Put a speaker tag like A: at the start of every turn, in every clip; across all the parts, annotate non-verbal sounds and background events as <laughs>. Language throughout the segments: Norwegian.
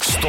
A: Stå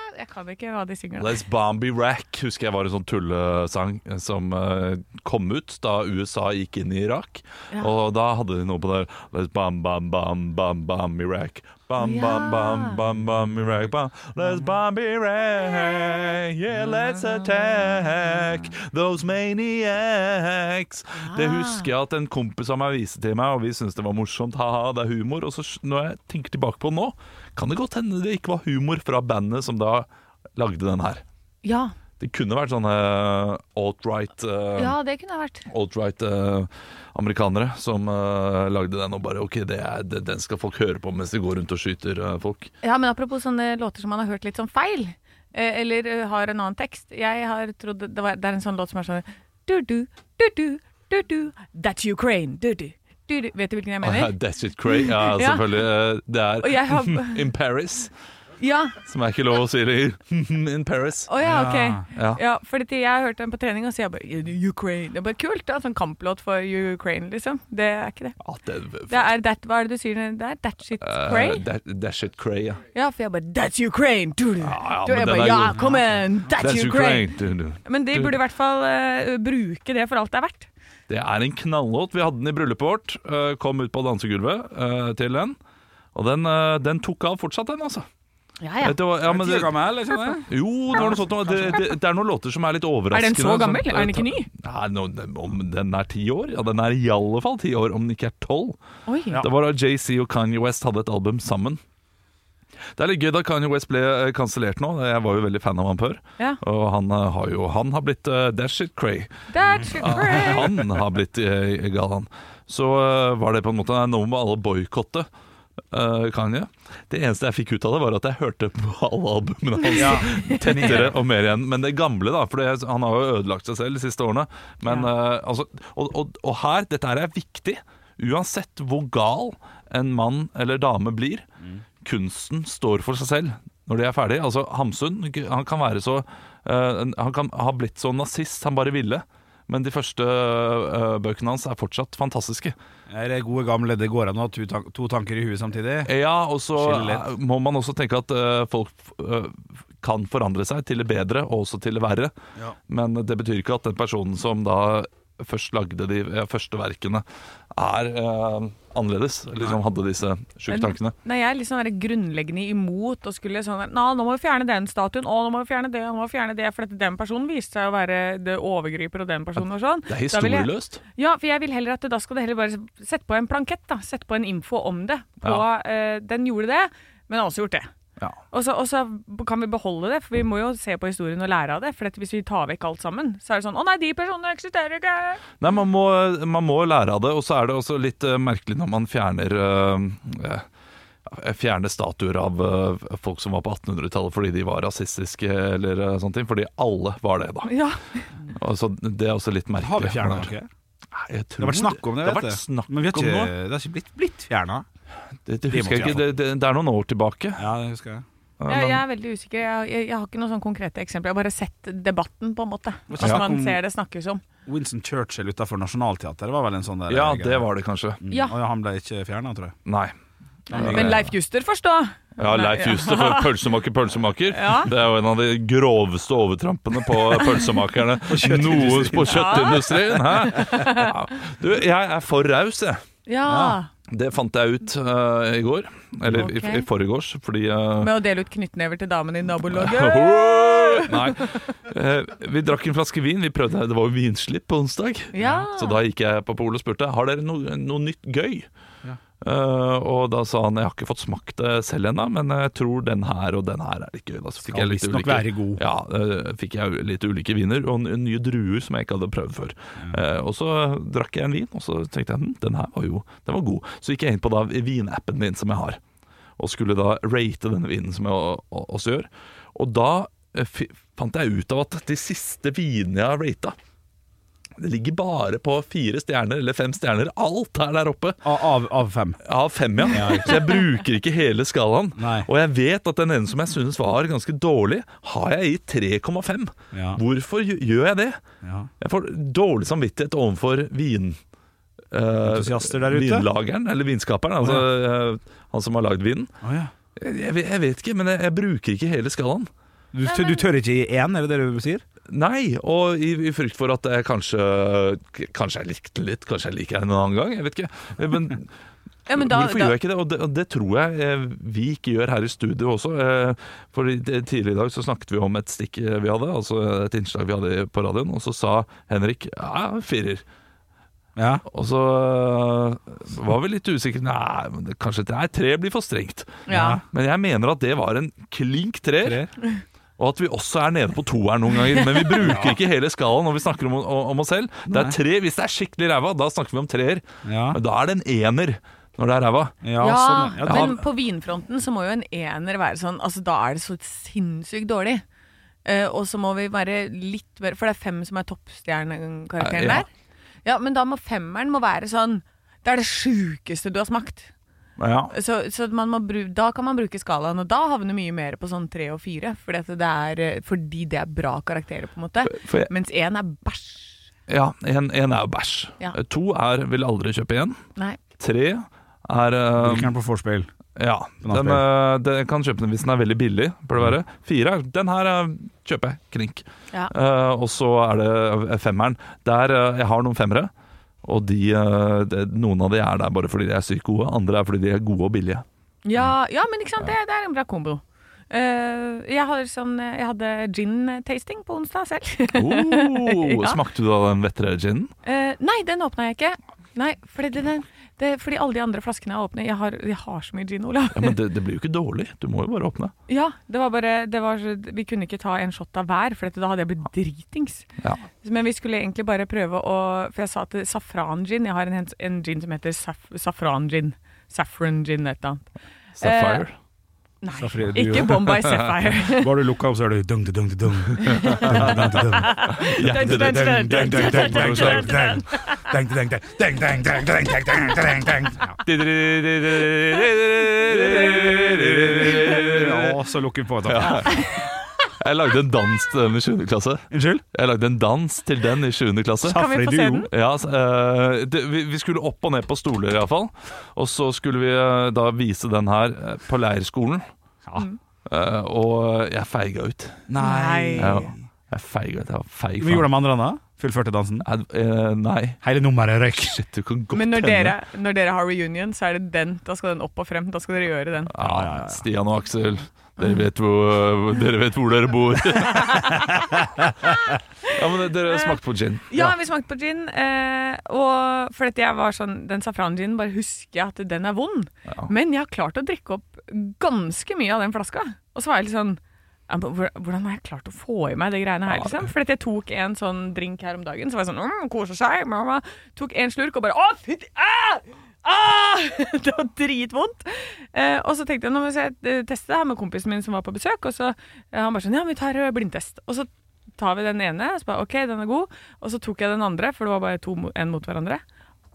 B: Jeg kan ikke hva de synger. da.
C: Les Bombi Rack husker jeg var en sånn tullesang som eh, kom ut da USA gikk inn i Irak.
B: Ja.
C: Og da hadde de noe på det Les bam bam bam bam bam Iraq. Bam
B: Ja.
C: bam bam bam bam Iraq. Bam. Let's bomb Iraq. Yeah, let's attack those maniacs. Det husker jeg at en kompis av meg viste til meg, og vi syntes det var morsomt. Ha-ha, det er humor. Og så sk- når jeg tenker tilbake på det nå, kan det godt hende det ikke var humor fra bandet som da lagde den her.
B: Ja,
C: Det kunne vært sånne eh, alt-right eh,
B: ja, det kunne det vært.
C: alt-right eh, amerikanere som eh, lagde den og bare OK, det er, det, den skal folk høre på mens de går rundt og skyter eh, folk.
B: Ja, men apropos sånne låter som man har hørt litt sånn feil, eh, eller eh, har en annen tekst. Jeg har trodd det, var, det er en sånn låt som er sånn du-du, du-du, du-du, That's Ukraine, du-du, du-du. Vet du hvilken jeg mener?
C: That's it, Cray. Ja,
B: <laughs> Ja.
C: selvfølgelig. eh, det
B: Og
C: er
B: jeg
C: <laughs>
B: har-
C: In Paris,
B: Ja.
C: som er ikke lov å si lenger. <laughs> In Paris.
B: Å ja, ok.
C: Ja.
B: Ja, fordi til jeg hørte den på trening, og så jeg bare Ukraine. Det er bare kult, da. Sånn kamplåt for Ukraine, liksom. Det er ikke det.
C: Ja, det,
B: Det er that, Hva er det du sier der? That shit
C: eh,
B: cray?
C: that, that's it, Cray, ja.
B: Ja, for jeg bare That's Ukraine! Du, du.
C: ja,
B: Du,
C: men
B: jeg
C: den
B: bare,
C: er
B: ja,
C: god.
B: kom igjen! That's, Ukraine.
C: Du- du.
B: Men de burde i hvert fall eh, bruke det for alt det er verdt.
C: Det er en knallåt. Vi hadde den i bryllupet vårt. eh, Kom ut på dansegulvet eh, til den. Og den, eh, den tok av fortsatt, den, altså.
B: Ja, ja.
C: Vet du hva- ja, men det, jo, det, var noe sånt, noe. det, det, det er noen låter som er litt
B: Er
C: overraskende.
B: den så gammel?
C: sånn-
B: Er den ikke ny?
C: Nei, nå- den- om den er ti år? Ja, den er i alle fall ti år, om den ikke er tolv.
B: Oi.
C: Det var da JC og Kanye West hadde et album sammen. Det er litt gøy da Kanye West ble eh, kansellert nå. Jeg var jo veldig fan av han før.
B: Ja.
C: Og han eh, har jo han har blitt uh, dash it cray. <laughs>
B: That's Ukraine!
C: Han har blitt eh, gal, han. Så eh, var det på en måte Nei, Nå må alle boikotte eh, Kanye. Det eneste jeg fikk ut av det, var at jeg hørte på alle albumene hans tettere og mer igjen. Men det gamle, da. For det, han har jo ødelagt seg selv de siste årene. Men, eh, altså, og, og, og her, dette her er viktig. Uansett hvor gal en mann eller dame blir, kunsten står for seg selv når de er ferdig. Altså, Hamsun han kan være så eh, Han kan ha blitt så nazist han bare ville. Men de første eh, bøkene hans er fortsatt fantastiske.
D: <laughs> Er det gode gamle, det går an å ha to, tan to tanker i huet samtidig?
C: Ja, og så
D: Skille litt.
C: må man også tenke at eh, folk eh, kan forandre seg til det bedre og også til det verre.
D: Ja.
C: Men det betyr ikke at den personen som da først lagde de eh, første verkene, er eh, annerledes. Eller som hadde disse sjuke tankene.
B: Nei, jeg er litt sånn der grunnleggende imot å skulle sånn der, Nå, nå må vi fjerne den statuen, og nå må vi fjerne det, og nå må vi fjerne det, for at den personen viste seg å være det overgriper, og den personen og sånn.
C: Det er
B: Da vil jeg-
C: historieløst.
B: Ja, for jeg vil heller at det- da skal det heller bare sette på en plankett, da. Sette på en info om det. På,
C: Ja.
B: eh, den gjorde det, men har også gjort det.
C: Ja.
B: Og så, og så kan vi beholde det, for vi må jo se på historien og lære av det. For at hvis vi tar vekk alt sammen, så er det sånn Å nei, de personene eksisterer ikke!
C: Nei, man må, man må lære av det, og så er det også litt eh, merkelig når man fjerner eh, eh, Fjerner statuer av eh, folk som var på 1800-tallet fordi de var rasistiske eller eh, sånne ting. Fordi alle var det, da.
B: Ja.
C: Altså, det er også litt merkelig.
D: Har vi fjerna noe?
C: Nei, jeg
D: Det har
C: tror
D: vært snakk om det,
C: det har
D: vet
C: vært
D: du.
C: snakk
D: Men vi har
C: om
D: ikke,
C: noe.
D: det har ikke blitt, blitt fjerna.
C: Det, det
D: Det
C: husker jeg
D: måtte
C: ikke. Det, det, det er noen år tilbake.
D: Ja, det husker jeg.
C: eh,
B: Jeg, jeg
C: men-
B: er veldig usikker. Jeg, jeg, jeg har ikke noen sånn konkrete eksempler. Jeg har bare sett debatten, på en måte.
D: Hva
B: Som
D: skal vi snakke
B: man
D: om?
B: ser det snakkes om.
D: Winston Churchill utafor Nationaltheatret var vel en sånn der
C: Ja, det var det kanskje.
D: Mm.
B: Ja.
D: Og ja, han ble ikke fjerna, tror jeg.
C: Nei.
D: men-
B: Men Leif Juster, forstå!
C: Ja, Leif Juster for pølsemaker, pølsemaker.
B: Ja.
C: Det er jo en av de groveste overtrampene <laughs> på pølsemakerne noen på kjøttindustrien. Hæ? Ja. Du, jeg er for raus, jeg.
B: Ja.
C: Det fant jeg ut eh, i går. Eller
B: Ok.
C: i, i forgårs, fordi eh, <laughs>
B: Med å dele ut knyttnever til damene i nabolaget.
C: Nei. Eh, Vi drakk en flaske vin. Vi prøvde, det var jo vinslipp på onsdag.
B: <laughs> Ja.
C: Så da gikk jeg på polet og spurte Har dere noe, noe nytt gøy.
D: Ja.
C: Eh, og da sa han jeg har ikke fått smakt det selv ennå, men jeg tror den her og den her er litt gøy. Da. Så fikk
D: Skal
C: jeg litt
D: visstnok
C: ulike,
D: være god.
C: Ja, eh, fikk jeg litt ulike viner og n- nye druer som jeg ikke hadde prøvd før.
D: Mm.
C: Eh, og så drakk jeg en vin, og så tenkte jeg hm, den her var jo den var god. Så gikk jeg inn på da vinappen min som jeg har, og skulle da rate denne vinen som jeg o- o- også gjør. Og da eh, fi- fant jeg ut av at de siste vinene jeg har rata, Det ligger bare på fire stjerner eller fem stjerner. Alt er der oppe.
D: Av, av, av fem.
C: Ja, fem, ja. så jeg bruker ikke hele skalaen.
D: Nei.
C: Og jeg vet at den ene som jeg synes var ganske dårlig, har jeg gitt 3,5.
D: Ja.
C: Hvorfor gj- gjør jeg det?
D: Ja.
C: Jeg får dårlig samvittighet overfor vin... eh,
D: Entusiaster der ute?
C: Vinlageren, eller vinskaperen, altså eh, han som har lagd vinen.
D: Å, ja.
C: Jeg, vet- jeg vet ikke, men jeg, jeg bruker ikke hele skalaen.
D: du, tør- du tør ikke i én, er det det du sier?
C: Nei, og i, i frykt for at jeg kanskje Kanskje jeg likte den litt, kanskje jeg liker den en annen gang. Jeg vet ikke. Men
B: Ja, men da,
C: hvorfor
B: da,
C: gjør jeg ikke det? Og det, og det tror jeg eh, vi ikke gjør her i studio også. eh, For i- det- tidligere i dag så snakket vi om et stikk eh, vi hadde, altså et innslag vi hadde på radioen, og så sa Henrik ja, firer.
D: Ja.
C: Og så eh, var vi litt usikre. Nei, men det, kanskje nei, tre blir for strengt.
B: ja.
C: Men jeg mener at det var en klink treer.
D: Tre.
C: Og at vi også er nede på toeren noen ganger. Men vi bruker ikke hele skalaen når vi snakker om, om oss selv. Det er tre, Hvis det er skikkelig ræva, da snakker vi om treer.
D: Ja.
C: Men da er det en ener når det er ræva.
D: Ja,
B: Ja,
D: sånn, ja,
B: men på vinfronten så må jo en ener være sånn Altså da er det så sinnssykt dårlig. Eh, og så må vi være litt mer For det er fem som er toppstjernekarakteren
C: Ja.
B: der. Ja, men da må femmeren må være sånn Det er det sjukeste du har smakt.
C: Ja.
B: Så, så man må bru, da kan man bruke skalaen, og da havner mye mer på sånn tre og fire. Fordi, at det er, eh, fordi det er bra karakterer, på en måte.
C: For jeg,
B: Mens én er bæsj.
C: ja, en, en er jo bæsj.
B: Ja.
C: To er vil aldri kjøpe igjen.
B: Nei.
C: Tre er eh,
D: Drikker den på vorspiel.
C: Ja. Den, Mm. eh, den kan kjøpe den hvis den er veldig billig, bør det være. Fire er Den her eh, kjøper jeg. Knink.
B: Ja.
C: Eh, og så er det eh, femmeren. Der, eh, jeg har noen femmere, og de, eh, det, noen av de er der bare fordi de er sykt gode. Andre er fordi de er gode og
B: <laughs>
C: billige.
B: Ja, ja men ikke sant, det, det er en bra kombo. Eh, jeg, hadde sånn, eh, jeg hadde gin-tasting på onsdag
C: <laughs>
B: selv.
C: Oh,
B: Ja.
C: Smakte du da den vettere ginen?
B: Eh, nei, den åpna jeg ikke. Nei, fordi, det, det, det, fordi alle de andre flaskene jeg åpner Jeg har, jeg har så mye gin, Olav.
C: Ja, men det, det blir jo ikke dårlig. Du må jo bare åpne.
B: <laughs> Ja, det var bare det var, så- Vi kunne ikke ta en shot av hver, for da hadde jeg blitt dritings.
C: Ja.
B: Men vi skulle egentlig bare prøve å For jeg sa at safran-gin Jeg har en, hens- en gin som heter saf, safran-gin. Saffron-gin, et eller annet.
C: Sapphire.
B: Nei,
D: Safran, du
B: ikke
D: gjør.
B: Bombay
C: <laughs>
B: Sapphire.
D: Bare du lukka opp, så er det dung, dung, dung,
C: Ja, det- det- det-
D: Eh. Ja, så lukker vi på. Da.
C: Jeg lagde en dans til den i 7. klasse.
D: Unnskyld?
C: Jeg lagde en dans til den i 7. klasse.
B: Kan vi få se den?
C: Ja, så, eh, det, vi, vi skulle opp og ned på stoler iallfall. Og så skulle vi eh, da vise den her eh, på leirskolen. Eh, og jeg feiga ut.
B: Mm. Nei.
C: Jeg, jeg feiga ut. Jeg var feig.
D: Vi
C: faen.
D: gjorde det med andre hånda. Fullførte dansen.
C: Jeg- eh, nei.
D: Hele nummeret røyk.
C: Shit, du kan godt
B: Men når
C: hende.
B: dere, når dere har reunion, så er det den. Da skal den opp og frem. Da skal dere gjøre den.
C: ja,
D: ja, ja.
C: Stian og Aksel, dere vet hvor dere, vet hvor dere
B: <laughs>
C: bor. ja, men dere smakte på gin.
B: Ja, vi smakte på gin, eh, og fordi at jeg var sånn Den safranginen, bare husker jeg at den er vond.
C: Ja.
B: Men jeg har klart å drikke opp ganske mye av den flaska. Og så var jeg litt sånn ja, men hvor- Hvordan har jeg klart å få i meg de greiene her, liksom? Fordi at jeg tok en sånn drink her om dagen, så var jeg sånn mm, Koser seg, mamma. Tok en slurk og bare Å, fytti ah! Ah! <laughs> Det var dritvondt. Eh, og så tenkte jeg nå må jeg eh, teste det her med kompisen min som var på besøk. Og så eh, han bare sånn Ja, vi tar eh, blindtest. Og så tar vi den ene, og så bare OK, den er god. Og så tok jeg den andre, for det var bare to, mo- en mot hverandre.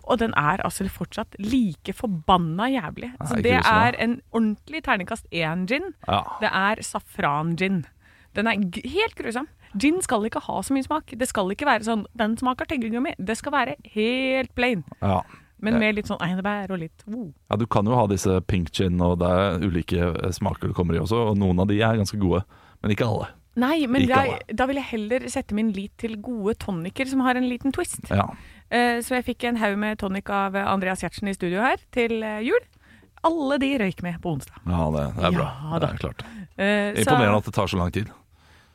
B: Og den er altså fortsatt like forbanna jævlig. Så
C: Nei,
B: det
C: grusom, da.
B: er en ordentlig terningkast én-gin.
C: Ja.
B: Det er safran-gin. Den er g- helt grusom. Gin skal ikke ha så mye smak. Det skal ikke være sånn 'den smaker tyggegummi'. Det skal være helt plain.
C: Ja.
B: Men med litt sånn einebær og litt oh.
C: ja, du kan jo ha disse pink gin, og det er ulike eh, smaker det kommer i også, og noen av de er ganske gode, men ikke alle.
B: Nei, men
C: Ikke
B: da,
C: alle.
B: da vil jeg heller sette min lit til gode toniker som har en liten twist.
C: Ja.
B: Eh, Så jeg fikk en haug med tonic av eh, Andreas Gjertsen i studio her til eh, jul. Alle de røyk med på onsdag.
C: Ja, det, det er bra.
B: Ja,
C: det
B: da.
C: er klart.
B: Eh, så-
C: Imponerende at det tar så lang tid.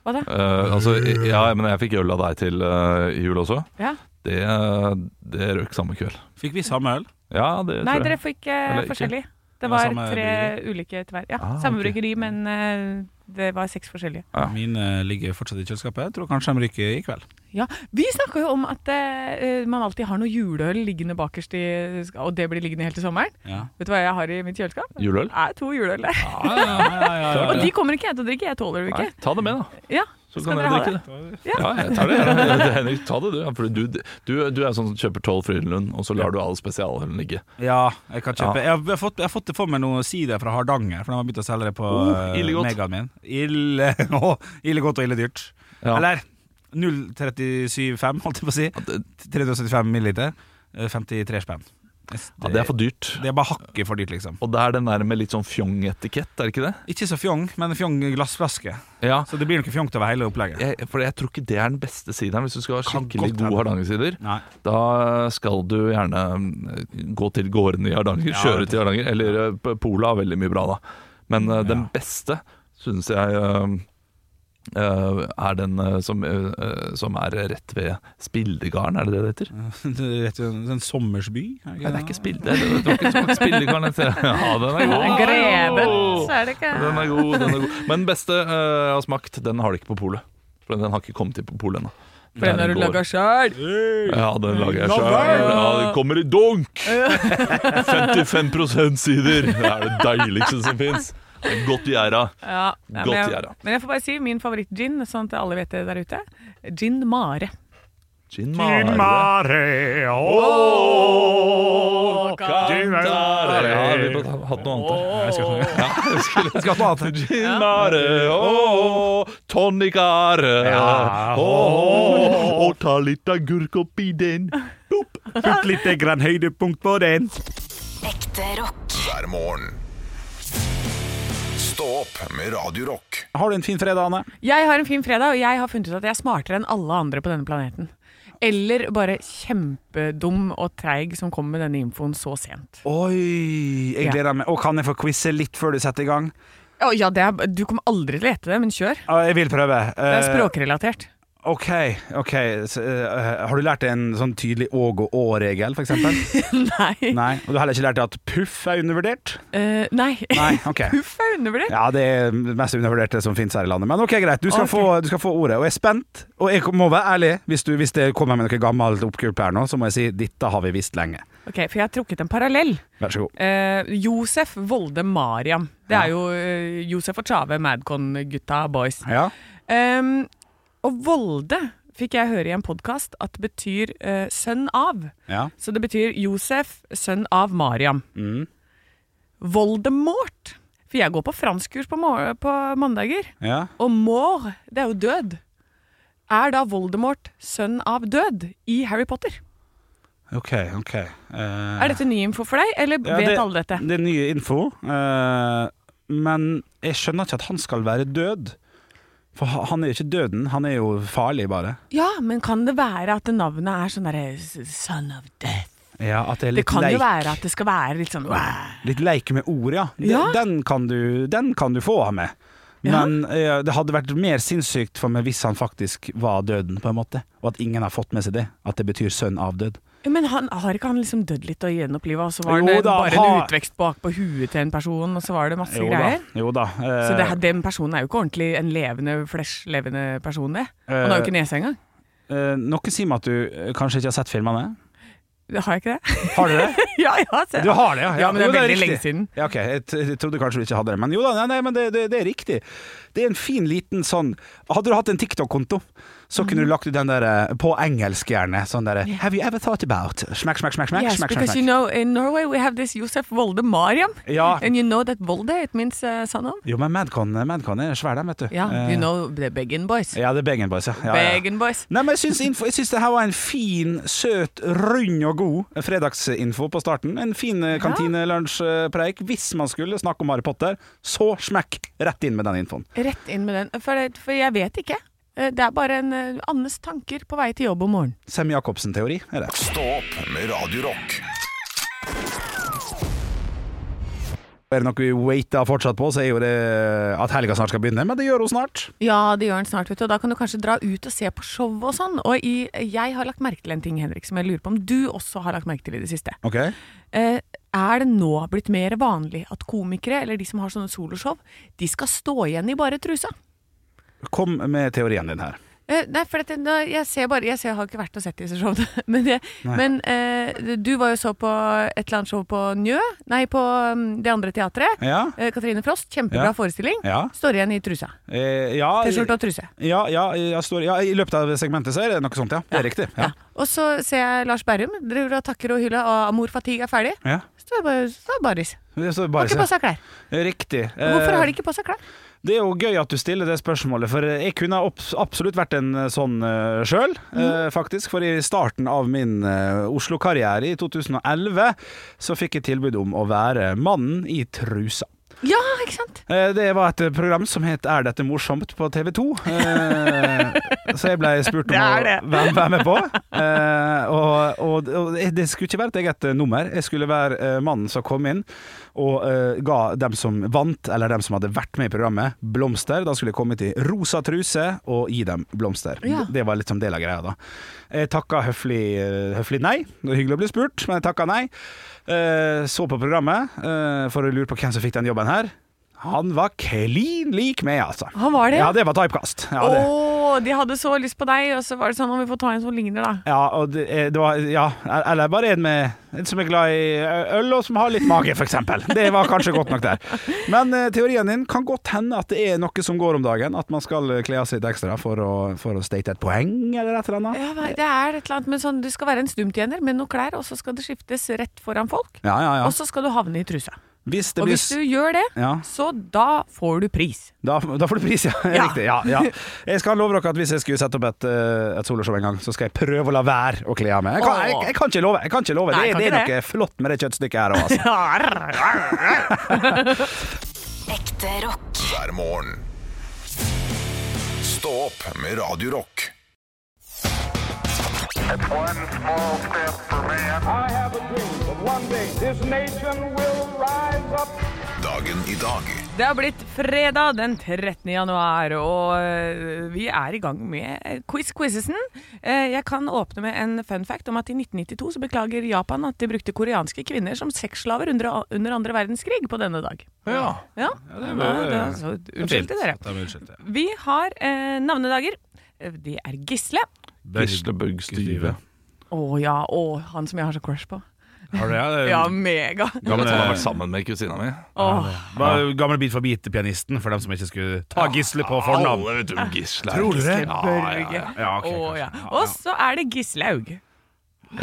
B: Hva da?
C: Eh, altså, ja, men jeg fikk øl av deg til eh, i jul også.
B: Ja.
C: Det, eh, det røk samme kveld.
D: Fikk vi samme øl?
C: Ja, det
B: Nei,
C: tror
B: dere
C: jeg.
B: fikk eh,
C: Eller ikke.
B: forskjellig. Det
D: Det var
B: var
D: samme
B: tre ulike til hver. Ja,
C: Ah,
B: samme
C: ok.
B: bryggeri, men eh, det var seks forskjellige.
C: Ja.
D: eh, Mine ligger fortsatt i kjøleskapet. Jeg tror kanskje de ryker i kveld.
B: Ja, Vi snakka jo om at eh, man alltid har noe juleøl liggende bakerst i Og det blir liggende helt til sommeren.
D: Ja.
B: Vet du hva jeg har i mitt kjøleskap?
C: Juleøl?
B: Er to juleøl der.
D: Ja, ja, ja, ja, ja.
B: Og de kommer ikke jeg til å drikke, jeg tåler det jo
C: Nei,
B: ikke.
C: ta det med, da.
B: Ja,
C: Så
B: skal
C: kan
B: dere
C: dere
B: ha
C: drikke
B: det?
C: det.
B: Ja.
C: Ja, jeg tar det. Ja, <laughs> det- Henrik, ta det, du. Ja, for du, du. Du er sånn som kjøper tolv Frydenlund, og så lar du alle spesialølene ligge.
D: Ja, jeg kan kjøpe Jeg har, jeg har, fått, jeg har fått det for meg noe sider fra Hardanger, for de har begynt å selge det på
C: Oh,
D: eh,
C: ille godt.
D: megaen min. Ille, <laughs> å, ille godt og ille dyrt.
C: Ja.
D: Eller 0,375, holdt jeg på å si. 375 milliliter. eh, 53 spenn.
C: Ja, det er for dyrt.
D: Det er bare hakket for dyrt, liksom.
C: Og det er den der med litt sånn fjong-etikett, er det ikke det?
D: Ikke så fjong, men fjong glassflaske.
C: Ja.
D: Så det blir noe fjongt over hele opplegget.
C: Jeg, for jeg tror ikke det er den beste sideren. Hvis du skal ha
D: Kan
C: skikkelig
D: godt
C: god
D: hende.
C: Hardanger-sider,
D: Nei. <laughs>
C: da skal du gjerne mm, gå til gårdene i Hardanger,
D: Ja,
C: kjøre
D: det-
C: til Hardanger. Eller eh, P- Pola har veldig mye bra, da. Men eh, den
D: Ja.
C: beste syns jeg eh, eh, er den eh, som, eh, eh, som er rett ved Spildegarden, er det det det heter?
D: Det er rett og slett en sånn sommersby? er
C: Nei, det er ikke Spilde... Det var ikke, det var ikke Spildegarden. jeg sier. Ja, den
B: <laughs>
C: er god!
B: Greven, så er det ikke
C: Den er god, den er god. Men den beste eh, jeg har smakt, den har du ikke på polet. For den har ikke kommet til på polet ennå.
B: For den har du laga sjøl.
C: Ja, den lager jeg
D: La
C: sjøl.
D: være!
C: Ja, den kommer i dunk! <laughs> 55 sider! Det er det deiligste som fins. Godt gjæra.
B: Ja, ja,
C: Godt
B: men, jeg,
C: gjæra.
B: men jeg får bare si min favoritt-gin, sånn at alle vet det der ute. Gin Mare.
C: Gin
E: Din
C: mare.
E: mare,
C: Åh, kantare. Ja, vi burde hatt noe annet. der.
B: Jeg skal
C: Ja, jeg skulle
D: Skal ta alt.
C: Gin mare, åh, tonicare.
E: Ja.
C: Åh, og ta litt agurk oppi den.
E: Putt litt grann høydepunkt på den.
F: Ekte rock.
A: hver morgen. Stå opp med Radio Rock.
D: Har du en fin fredag, Anne?
B: Jeg har en fin fredag, og jeg har funnet ut at jeg er smartere enn alle andre på denne planeten. Eller bare kjempedum og treig som kommer med denne infoen så sent.
D: Oi, jeg
B: Ja.
D: gleder meg. Og kan jeg få quize litt før du setter i gang?
B: Å, ja, det er, du kommer aldri til å gjette det, men kjør.
D: Ja, jeg vil prøve.
B: Det er
D: Eh,
B: språkrelatert.
D: OK. ok så, eh, Har du lært deg en sånn tydelig åg og å-regel,
B: <laughs>
D: f.eks.?
B: Nei.
D: Nei. Og du har heller ikke lært deg at puff er undervurdert?
B: Eh, nei. <laughs>
D: Nei, OK.
B: Puff er undervurdert.
D: Ja, det er det mest undervurderte som finnes her i landet. Men OK, greit. Du skal,
B: Ok.
D: få, du skal få ordet. Og jeg er spent. Og jeg må være ærlig. Hvis, du, hvis det kommer med noe gammelt oppgulp her nå, så må jeg si dette har vi visst lenge.
B: Ok, for jeg har trukket en parallell.
D: Vær så god.
B: Eh, Josef Volde Mariam. Det er jo eh, Josef og Tjave, Madcon-gutta, boys.
D: Ja.
B: Ehm, og Volde fikk jeg høre i en podkast at betyr eh, sønn av.
D: ja.
B: Så det betyr Josef, sønn av Mariam.
D: Mm.
B: Voldemort. For jeg går på franskkurs på, mor- på mandager.
D: ja.
B: Og mor, det er jo død. Er da Voldemort sønn av død i Harry Potter?
D: OK, OK. Eh,
B: Er dette ny info for deg, eller
D: Ja,
B: vet
D: det-
B: alle dette?
D: Det er nye info, eh, men jeg skjønner ikke at han skal være død. For ha- han er jo ikke døden, han er jo farlig, bare.
B: Ja, men kan det være at navnet er sånn derre Son of Death?
D: Ja, At det er
B: Det
D: litt,
B: kan
D: leik,
B: jo være at det skal være litt sånn «Wah».
D: litt leik med ord, ja. Den-
B: Ja.
D: Den, kan du, den kan du få ha med.
B: Ja.
D: Men eh, det hadde vært mer sinnssykt for meg hvis han faktisk var døden, på en måte. Og at ingen har fått med seg det. At det betyr sønn av død.
B: Men han, har ikke han liksom dødd litt og gjenoppliva, og så var
D: Jo
B: det
D: da,
B: bare en
D: ha-
B: utvekst bak på huet til en person, og så var det masse
D: Jo da.
B: greier?
D: Jo da. eh,
B: Så det, her- den personen er jo ikke ordentlig en levende, flesh-levende person, det. Han har jo ikke nese engang.
D: eh, noe sier meg at du eh, kanskje ikke har sett filmene.
B: Det Har jeg ikke det?
D: Har du
B: <laughs>
D: det?
B: ja, jeg har sett
D: Du har det, ja.
B: Ja, men det
D: jo,
B: er veldig
D: riktig.
B: lenge siden.
D: Ja, ok, jeg, t jeg trodde kanskje du ikke hadde det, men jo da, nei, nei men det, det, det er riktig. Det er en fin liten sånn Hadde du hatt en TikTok-konto, så kunne du
B: Mhm.
D: lagt ut den der eh, på engelsk gjerne, sånn derre Have you ever thought about Smack, smack, smack, smack,
B: Yes,
D: smack, smack,
B: because you
D: smack.
B: know, in Norway we have this Josef Volde Mariam,
D: Ja.
B: <laughs> and you know that Volde, it means uh, son of.
D: Jo, men Madcon, eh, Madcon er svær, den, vet du.
B: Ja,
D: Eh,
B: you know the Begin Boys.
D: Ja, det er Beggen Boys, ja. ja, ja.
B: Begin Boys.
D: Nei, men jeg syns, info, jeg syns det her var en fin, søt, rund og god fredagsinfo på starten. En fin eh, kantinelunsjpreik. Hvis man skulle snakke om Harry Potter, så smekk rett inn med den infoen.
B: Rett inn med den, for, det- for jeg vet ikke. Eh, Det er bare en eh, Annes tanker på vei til jobb om morgenen.
D: Sem-Jacobsen-teori er det.
A: Stå opp med Radio Rock
D: Er det noe vi waiter fortsatt på, så er jo det at helga snart skal begynne, men det gjør hun snart.
B: Ja, det gjør den snart, vet du. Og da kan du kanskje dra ut og se på show og sånn. Og i, jeg har lagt merke til en ting, Henrik, som jeg lurer på om du også har lagt merke til i det siste.
D: Ok.
B: Eh, er det nå blitt mer vanlig at komikere, eller de som har sånne soloshow, de skal stå igjen i bare trusa?
D: Kom med teorien din her.
B: Eh, Eh, Nei, for dette, nå, jeg ser bare Jeg, ser, jeg har ikke vært og sett disse showene. <laughs> Men, jeg, men eh, du var jo så på et eller annet show på Njø. Nei, på mm, det andre teatret.
D: Ja.
B: Eh, Katrine Frost. Kjempebra
D: Ja.
B: forestilling.
D: Ja.
B: Står igjen i trusa.
D: Eh, ja,
B: T-skjorte og truse.
D: ja, ja, jeg står, ja, I løpet av segmentet så er det noe sånt, ja. Det er riktig. Ja.
B: Og så ser jeg Lars Berrum driver og takker og hyller, og Amor Fatigue er ferdig.
D: Ja.
B: Står bare, står baris.
D: Det står
B: Har
D: bare
B: ikke på seg klær.
D: Riktig.
B: Hvorfor har
D: Eh,
B: de ikke på seg klær?
D: Det er jo gøy at du stiller det spørsmålet, for jeg kunne abs- absolutt vært en eh, sånn uh, sjøl, eh, faktisk. For i starten av min eh, Oslo-karriere i 2011, så fikk jeg tilbud om å være mannen i trusa.
B: Ja, ikke sant?
D: Eh, Det var et program som het Er dette morsomt? på TV 2. Eh, Så jeg ble spurt om å være være med på. Eh, Og, og, og det skulle ikke være et eget eh, nummer. Jeg skulle være eh, mannen som kom inn og eh, ga dem som vant, eller dem som hadde vært med i programmet, blomster. Da skulle jeg komme til rosa truse og gi dem blomster.
B: Ja.
D: Det var litt som del av greia, da. Jeg takka høflig, eh, høflig nei. Det var hyggelig å bli spurt, men jeg takka nei. Eh, Så på programmet eh, for å lure på hvem som fikk den jobben her. Han var klin lik meg, altså.
B: Han var det,
D: Ja,
B: ja.
D: det var typecast. Ja,
B: Å,
D: det.
B: de hadde så lyst på deg, og så var det sånn om vi får ta en som ligner, da.
D: Ja, og det, eh, det var, ja, eller bare en, med, en som er glad i ø- øl, og som har litt mage, f.eks. Det var kanskje godt nok der. Men eh, teorien din kan godt hende at det er noe som går om dagen. At man skal eh, kle av seg litt ekstra for å, for å state et poeng, eller et eller annet.
B: Ja, hva- det er et eller annet med sånn Du skal være en stumtjener med noen klær, og så skal det skiftes rett foran folk.
D: Ja, ja,
B: Og
D: ja.
B: så skal du havne i trusa.
D: Hvis det
B: Og
D: blir
B: hvis
D: s-
B: du gjør det,
D: ja.
B: så da får du
D: <laughs>
B: pris.
D: Da, da får du pris, ja.
B: Ja.
D: Riktig. Ja, ja. Jeg skal love dere at hvis jeg skulle sette opp et, eh, et soloshow en gang, så skal jeg prøve å la være å kle av meg. Jeg kan, jeg, jeg kan ikke love. Jeg kan ikke love.
B: Nei,
D: det,
B: kan
D: det er
B: ikke
D: noe flott med det kjøttstykket her òg, altså.
F: Ekte rock.
A: hver morgen. Stå opp med Radio Rock.
G: I have a dream that one day this nation will rise up.
A: Dagen i dag
B: Det har blitt fredag den 13. januar, og øh, vi er i gang med quiz-quizzesen. Jeg kan åpne med en fun fact om at i 1992 så beklager Japan at de brukte koreanske kvinner som sexslaver under, under andre verdenskrig på denne dag.
C: Ja.
B: Ja, det var, det var, så, <laughs> unnskyld til dere. Vi har eh, navnedager. Eh, De er Gisle.
C: Bislebøgg Styve.
B: Å ja, og han som jeg har så crush på.
D: Har
B: <laughs>
D: du eh, det?
B: Ja, mega.
C: Gammel som har vært sammen med kusina mi.
B: Åh,
D: Bare Gammel Bit for bit-pianisten, for dem som ikke skulle
B: Ah.
D: ta gisle på fornavn.
C: Alle vet om Gisle.
D: Tror du det?
C: Ja, ja,
B: Børge.
C: ja.
D: Ja, ok,
B: Å,
D: kanskje.
B: ja. Og så er det Gislaug.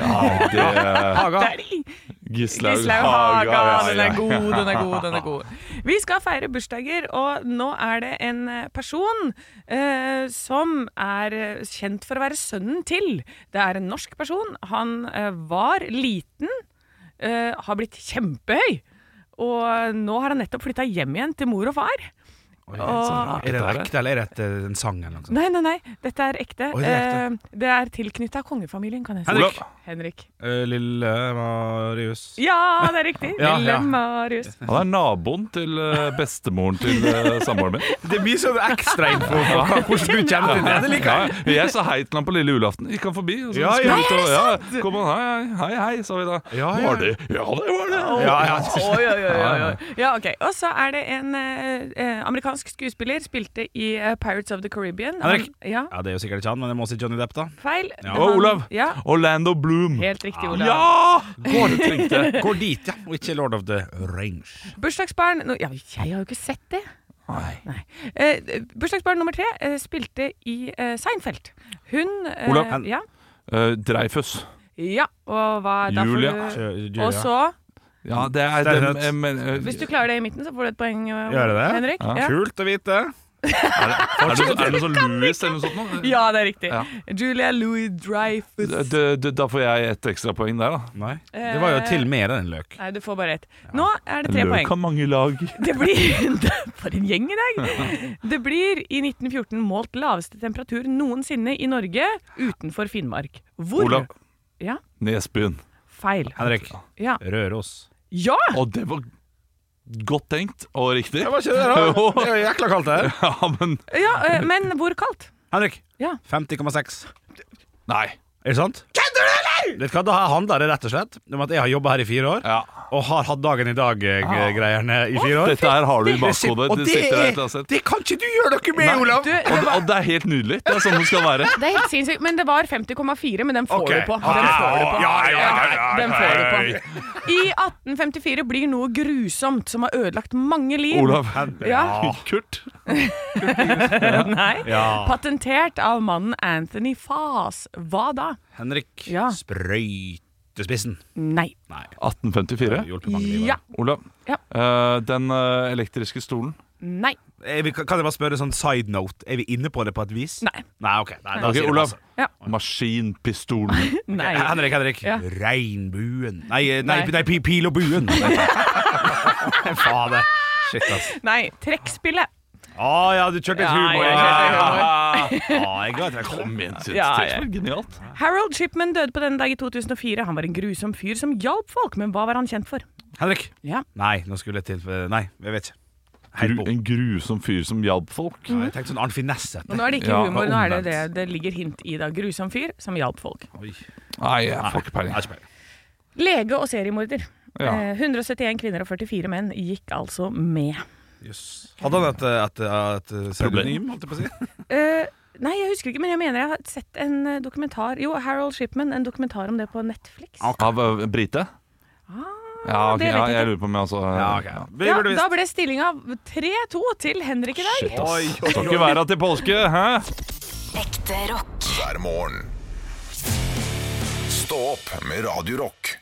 C: Det-
B: Det er de.
C: Gislaug
B: Gislaug
C: Haga.
B: Haga.
C: ja,
B: Den
C: ja.
B: er god, den er god, den er god. Vi skal feire bursdager, og nå er det en eh, person eh, som er eh, kjent for å være sønnen til. Det er en norsk person. Han eh, var liten, eh, har blitt kjempehøy, og nå har han nettopp flytta hjem igjen til mor og far. Og,
D: Er det ekte, eller er det et, eh, en sang eller noe sånt?
B: nei, nei, nei, dette er ekte.
D: Oi, det er
B: Eh, Det er tilknytta kongefamilien, kan jeg si.
D: Henrik.
B: Henrik.
D: Eh, Lille Marius.
B: Ja, det er riktig.
D: Ja,
B: Lille
D: ja.
B: Marius.
C: Han er naboen til eh, bestemoren til eh, samboeren min.
D: Det blir
B: <laughs>
D: sånn ekstrainfo på hvordan du kjenner til det. Det liker jeg.
C: Men Jeg sa hei til han på lille julaften. Gikk han forbi? Og så
D: Ja,
C: skulle
D: ja.
C: vi ut og, ja, kom han, hei, hei, hei, hei, sa vi da.
D: Ja, ja.
C: Var det? Ja, det var det.
D: Ja, ja.
B: <laughs> Oi, oi, oi, oi, oi. Ja, ok. Og så er det en eh, eh, amerikansk skuespiller, spilte i eh, Pirates of the Caribbean. Han-
D: Henrik.
B: Ja,
D: Ja, det er jo sikkert ikke han, men jeg må si Johnny Depp, da.
B: feil.
C: Og Olav.
B: Ja,
C: Orlando Bloom.
B: helt riktig, Olav.
C: Ja! Går det trengte.
D: Går dit, ja. Og ikke Lord of the Rings.
B: Bursdagsbarn nå- ja, Jeg har jo ikke sett det. Nei. Eh, bursdagsbarn nummer tre eh, spilte i eh, Seinfeld. Hun eh,
C: Olav, han-
B: Ja,
C: Eh, Dreyfus.
B: ja, og hva da får
C: Julia.
B: du-
D: Julia.
B: Eh, Og så,
C: Ja, det er
D: Det er
C: dem,
D: rett.
C: eh, men, eh,
B: hvis du klarer det i midten, så får du et poeng, eh,
D: Gjør jeg det?
B: Henrik.
C: Ja.
B: Ja.
D: Kult å vite.
C: Er det, er det, er det noe sånn Louis eller noe sånt? nå?
B: ja, det er riktig.
C: Ja.
B: Julia Louis Dreyfus.
C: D- d- d- Da får jeg et ekstrapoeng der, da.
D: Nei. Det var jo
B: eh,
D: til mer enn en løk.
B: Nei, du får bare ett. Nå er det tre poeng.
C: har mange lag.
B: Det blir <laughs> For en gjeng i dag!
D: <laughs>
B: Det blir i 1914 målt laveste temperatur noensinne i Norge utenfor Finnmark. Hvor?
C: Olav.
B: Ja,
C: Nesbyen.
B: feil.
D: Henrik.
B: Ja!
D: Røros.
B: ja!
C: Og det var godt tenkt og riktig.
D: Det var ikke <laughs> det, da. Det er jo jækla kaldt, det her.
C: <laughs> Ja, men
B: ja
D: <laughs>
B: eh, men hvor kaldt?
D: Henrik.
B: Ja.
D: 50,6.
C: Nei.
D: Er det sant? Kødder du, eller?! Vet du hva, Det her handler det rett og slett om at jeg har jobba her i fire år,
C: Ja.
D: og har hatt dagen i dag-greierne i fire år.
C: Dette her har du i bakhodet.
D: Og
C: Det
D: det,
C: sitter der et eller annet
D: er,
C: sted.
D: det kan ikke du gjøre noe med, Olav!
B: Du, det,
C: Og,
B: var,
C: og det er helt nydelig. Det er sånn det skal være.
B: det er helt sinnssykt. Men det var 50,4, men den får
D: Ok.
B: du på.
D: Ok.
B: Den får du på.
D: Ja, ja, ja, ja, ja,
B: Den får du på. I 1854 blir noe grusomt som har ødelagt mange liv.
C: Olav.
B: Ja.
C: Kurt.
B: <laughs> Nei. Patentert av mannen Anthony Faas. Hva da?
D: Henrik,
B: Ja.
D: sprøytespissen.
B: Nei.
C: 1854.
D: Hjulpet mange liv.
B: Ja.
C: Olav.
B: Ja.
C: Eh, den eh, elektriske stolen.
B: Nei.
D: Er vi, kan jeg bare spørre sånn side note? Er vi inne på det på et vis?
B: Nei.
D: Nei, ok. Nei, da
C: Ok,
D: sier jeg
C: Olav.
D: pass.
B: Ja.
C: Maskinpistolen.
B: Nei.
D: Eh, Henrik, Henrik.
B: Ja.
D: Regnbuen. Nei, eh, nei,
B: Nei.
D: nei. pi- pil og
B: <laughs>
D: buen. Fader. Shit, ass.
B: Nei. Trekkspillet.
D: Å ja, du kjørte litt
B: Ja,
D: humor.
C: Ah!
B: jeg kjørte
D: Ah, jeg er glad at jeg kom.
C: Kom igjen, Tete.
B: Ja,
C: Det
B: ja.
C: er Genialt.
B: Harold Shipman døde på denne dag i 2004. Han var en grusom fyr som hjalp folk, men hva var han kjent for?
D: Henrik.
B: Ja.
D: Nei, nå skulle jeg til eh, Nei, jeg vet ikke. Helt
C: Gru,
D: bom.
C: en grusom fyr som hjalp folk.
D: Jeg tenkte sånn Arn Finesse.
B: Og nå er det ikke
C: Ja,
B: humor, nå er det det
C: omvendt.
B: det ligger hint i da. Grusom fyr som hjalp folk.
C: Nei, jeg får ikke peiling.
B: Lege og seriemorder.
C: Ja.
B: Eh, 171 kvinner og 44 menn gikk altså med.
D: Hadde han et, et, et, et pseudonym, holdt jeg på å si?
B: Eh, nei, jeg husker ikke, men jeg mener jeg har sett en eh, dokumentar Jo, Harold Shipman, en dokumentar om det på Netflix.
C: Av eh, brite? Ja, ok,
B: Ah, det vet jeg
C: ja, jeg
B: ikke.
C: lurer på om jeg altså
D: Ja, ok. Vi
B: Ja,
D: burde
B: da
D: visst
B: ble stillinga 3-2 til Henrik i dag. <laughs>
C: Shit, ass. Skal ikke være til påske, hæ?
F: Ekte rock.
A: hver morgen. Stå opp med Radio Rock.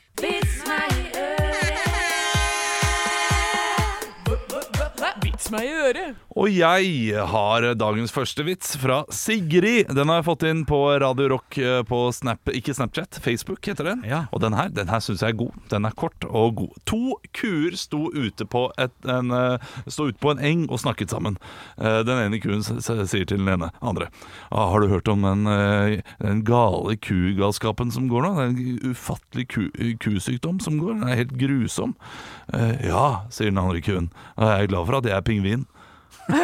B: Vits meg i øret.
C: Og jeg har dagens første vits fra Sigrid. Den har jeg fått inn på Radio Rock eh, på Snap, ikke Snapchat, Facebook heter den.
D: Ja.
C: Og den her, den her syns jeg er god. Den er kort og god. To kuer sto ute på, et, en, eh, sto ute på en eng og snakket sammen. Eh, Den ene kuen s- s- sier til den ene andre ah, Har du hørt om den, eh, den gale kugalskapen som går nå? Den ufattelige ku, kusykdom som går? Den er helt grusom. «Eh, Ja, sier den andre kuen. Jeg er glad for at jeg er pingvin.
D: Oi, oi,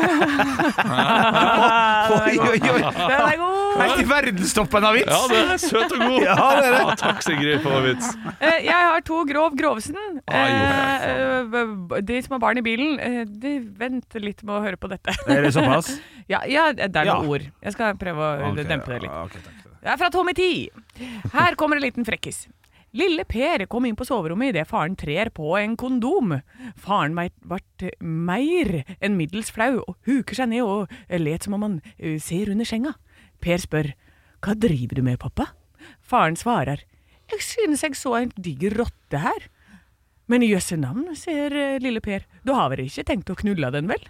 D: oi.
B: Den er god.
D: Helt i verdenstoppen av
C: Ja,
D: vits!
C: det er søt og god. <laughs> ja, det er det. takk, Sigrid, for vits.
B: Eh, jeg har to grov Grovesen.
C: Ai,
B: Eh, eh, de som har barn i bilen, eh, de venter litt med å høre på dette.
H: Er det såpass?
B: <laughs> ja, ja, det er noen
D: liksom- Ja.
B: ord. Jeg skal prøve å
D: Ok,
B: dempe det litt.
D: ja, ok, takk.
B: Det er fra Tommy 10. Her kommer en liten frekkis. Lille Per kom inn på soverommet idet faren trer på en kondom. Faren mei- vart meir enn middels flau og huker seg ned og let som om han eh, ser under senga. Per spør, hva driver du med, pappa? Faren svarer, jeg synes jeg så en diger rotte her. Men i jøsse navn, sier eh, lille Per, du har vel ikke tenkt å knulle den vel?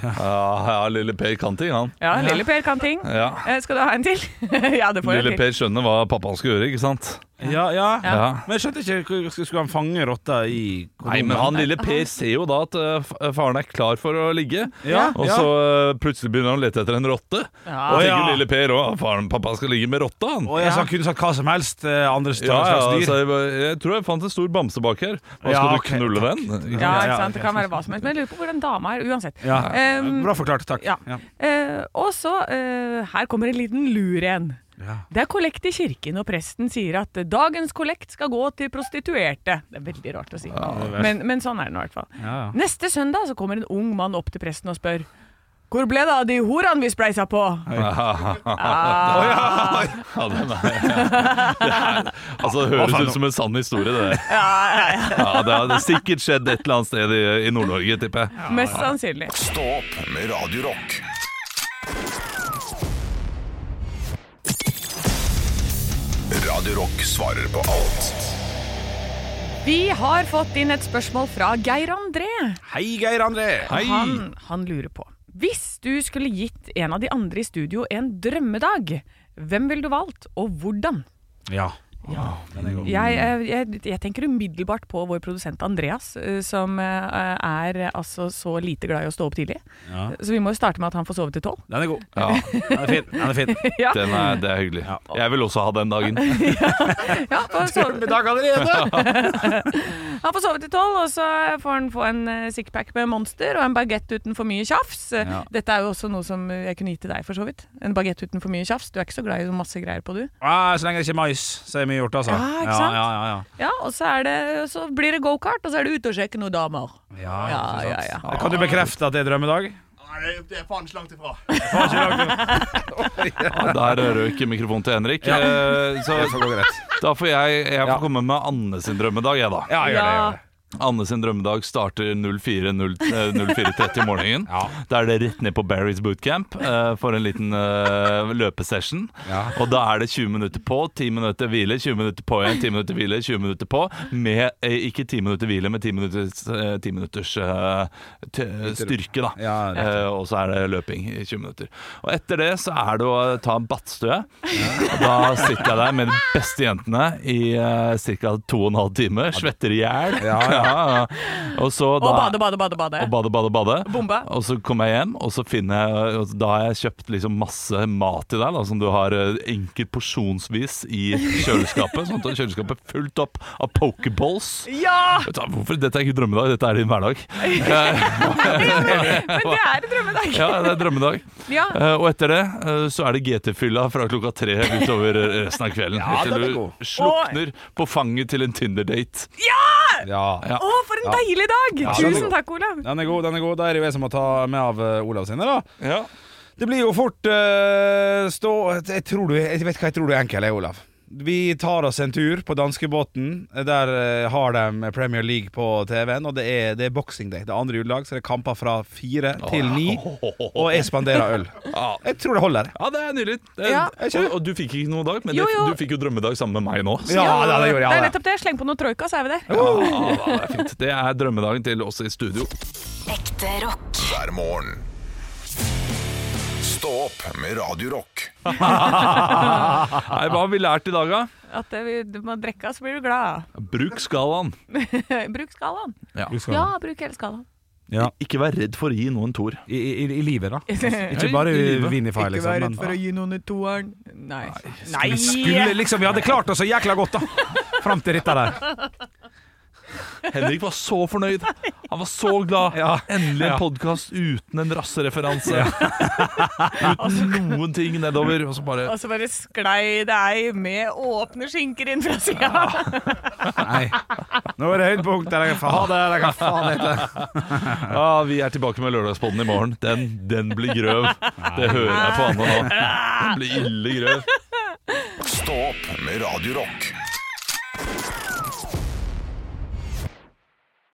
C: Ja, ja lille Per kan ting, han.
B: Ja, lille Per kan ting.
C: Ja.
B: Eh, Skal du ha en til? <laughs> ja, det får jeg
C: Lille
B: til.
C: Per skjønner hva pappaen skal gjøre, ikke sant?
D: Ja, ja.
C: Ja.
D: Men jeg skjønte ikke hvor- Skulle han fange rotta i
C: Nei, men han lille Per ser jo da at eh, f- faren er klar for å ligge.
D: Ja,
C: Og
D: ja.
C: så eh, plutselig begynner han å lete etter en rotte.
B: Ja.
C: Og
D: Å,
C: tenker
D: ja.
C: lille Per òg faren pappa skal ligge med rotta, han.
D: Og jeg sa han kunne sagt hva som helst. eh, Andre st-
C: Ja, altså- ja,
D: slags
C: så
D: dyr.
C: jeg, bare, jeg tror jeg fant en stor bamse bak her. Hva, skal
D: Ja,
C: du
D: ok,
C: knulle
D: takk.
C: den?
B: Ja,
D: Ja,
B: ikke
D: ja,
B: sant? Det
D: ok,
B: kan være hva som helst. Men jeg lurer på hvor den dama er, uansett.
D: Ja.
B: Ehm,
D: Bra forklart, takk.
B: ja.
D: Ja.
B: Eh, og så, eh, her kommer en liten lur en. Det er kollekt i kirken, og presten sier at eh, dagens kollekt skal gå til prostituerte. Det er veldig rart å si, men, men sånn er det nå i hvert fall.
D: Ja, ja.
B: Neste søndag så kommer en ung mann opp til presten og spør hvor ble det av de horene vi spleisa på?
D: Ah.
C: <laughs> Ja, den er, det er, altså, det høres ut som en sann historie, det der. Ja, det har sikkert skjedd et eller annet sted i, i Nord-Norge, tipper jeg.
B: Mest sannsynlig.
A: Stå opp med Radio Rock. Radio Rock svarer på alt
B: Vi har fått inn et spørsmål fra Geir André.
D: Hei, Geir André.
B: Han, han lurer på Hvis du skulle gitt en av de andre i studio en drømmedag, hvem ville du valgt, og hvordan?
D: Ja.
B: Jeg,
D: Mm.
B: eh, jeg, jeg tenker umiddelbart på vår produsent Andreas, eh, som eh, er eh, altså så lite glad i å stå opp tidlig.
D: Ja.
B: Så vi må jo starte med at han får sove til tolv.
D: Den er god.
C: Ja,
D: Den er fin. Den er fin.
B: Ja,
C: den er, det er hyggelig. Jeg vil også ha den dagen.
B: ja, får sove,
D: Dag allerede!
B: <laughs> han får sove til tolv, og så får han få en eh, sixpack med Monster og en bagett uten for mye tjafs. Eh,
D: Ja.
B: Dette er jo også noe som eh, jeg kunne gitt til deg, for så vidt. En bagett uten for mye tjafs. Du er ikke så glad i masse greier på, du.
D: Ah, så lenge det ikke er mais, så er jeg mye gjort, altså.
I: Ja, ikke sant?
D: Ja, ja, ja, ja.
I: Ja, og så, er det, så blir det gokart, og så er det ute og sjekke noen damer.
D: Ja,
I: Ja,
D: ikke sant.
I: ja,
D: Kan du bekrefte at det er drømmedag?
E: Det er faen ikke langt ifra.
C: <laughs> Ja, der røk mikrofonen til Henrik. Eh,
D: Så
C: Så
D: går det greit.
C: da får jeg, jeg får komme med Anne sin drømmedag, jeg, da.
D: Ja, gjør det. Gjør det.
C: Anne sin drømmedag starter eh, 04.30 om morgenen. Da er det rett ned på Barry's bootcamp eh, for en liten eh, løpesession.
D: Ja.
C: Og da er det 20 minutter på, 10 minutter hvile, 20 minutter på igjen, 10 minutter hvile, 20 minutter på. Med eh, ikke 10 minutter hvile, men 10 minutters, eh, 10 minutters eh, t styrke, da.
D: Ja, riktig.
C: Eh, og så er det løping i 20 minutter. Og etter det så er det å ta en badstue. Og Da sitter jeg der med de beste jentene i uh, ca. 2 12 timer. Svetter i hjel.
D: Ja, ja.
C: <laughs> Ja, Og så
I: Og
C: da
I: bade, bade, bade. bade.
C: og bade, bade, bade.
I: Bombe.
C: Og så kommer jeg hjem, og så finner jeg og Da har jeg kjøpt liksom masse mat til deg, da, som du har eh, enkelt porsjonsvis i kjøleskapet. sånn at kjøleskapet er fullt opp av pokeballs.
I: Ja!
C: Vet du hva, Hvorfor? Dette er ikke drømmedag, dette er din hverdag.
D: <laughs>
I: Men det er en drømmedag.
C: Ja, det er drømmedag.
I: Ja.
C: Eh, og etter det eh, så er det GT-fylla fra klokka tre utover resten av kvelden.
D: Ja, den
C: Helt
D: er
C: til
D: god.
C: du slukner på fanget til en Tinder-date.
D: Ja.
C: Ja.
I: Å, for en deilig dag!
D: den er
I: Tusen
D: god.
I: takk, Olav.
D: Den er god, den er god. Da er det jo jeg som må ta med av eh, Olav sine, da.
C: Ja.
D: Det blir jo fort eh, stå jeg, tror du, jeg vet hva jeg tror du er enkel, jeg, Olav. Vi tar oss en tur på danskebåten. Der eh, har de Premier League på TV-en, og det er, det er Boxing Day. Det er andre juledag, så det er kamper fra fire til ni. Og jeg spanderer <laughs> øl. Jeg tror det holder.
C: Ja, det er nydelig. Det er,
I: Ja.
C: og, og du fikk ikke noen dag, men
I: Jo,
C: det-
I: jo.
C: du fikk jo drømmedag sammen med meg nå. så-
D: Ja, da, det gjorde
I: Det er
D: jeg. Ja,
I: nettopp det. Sleng på noe troika, så er vi der.
C: Ja, Ah, det er fint. Det er drømmedagen til oss i studio.
F: Ekte rock.
A: hver morgen. Stå opp med Radio Rock.
C: Nei, Hva har vi lært i dag, da?
I: At det, vi- du må drikke, så blir du glad. <laughs>
C: Bruk skalaen.
I: Bruk skalaen.
C: Ja.
I: Ja, bruk hele skalaen.
D: Ja.
C: Ikke vær redd for å gi noen toer.
D: I, i, I livet, da.
I: <laughs>
C: Ja, i-
D: Ikke bare
C: i livet.
D: Vinify, liksom. men-
I: gi noen et toeren. Nei.
D: Vi skulle liksom, Vi hadde klart oss så jækla godt, da. <laughs> Fram til dette der.
C: Henrik var så fornøyd. Han var så glad.
D: Ja.
C: Endelig en
D: Ja.
C: podkast uten en rassereferanse. uten noen ting nedover. Og så bare
I: Og så bare sklei det ei med åpne skinker inn fra sida.
D: Nei. Nå er det høydepunkt. Eller hva faen er det? Hva faen heter det?
C: ah, Vi er tilbake med Lørdagspodden i morgen. Den, den blir grøv. Det hører jeg på Anne nå. Den blir ille grøv.
A: Stå opp med Radio Rock.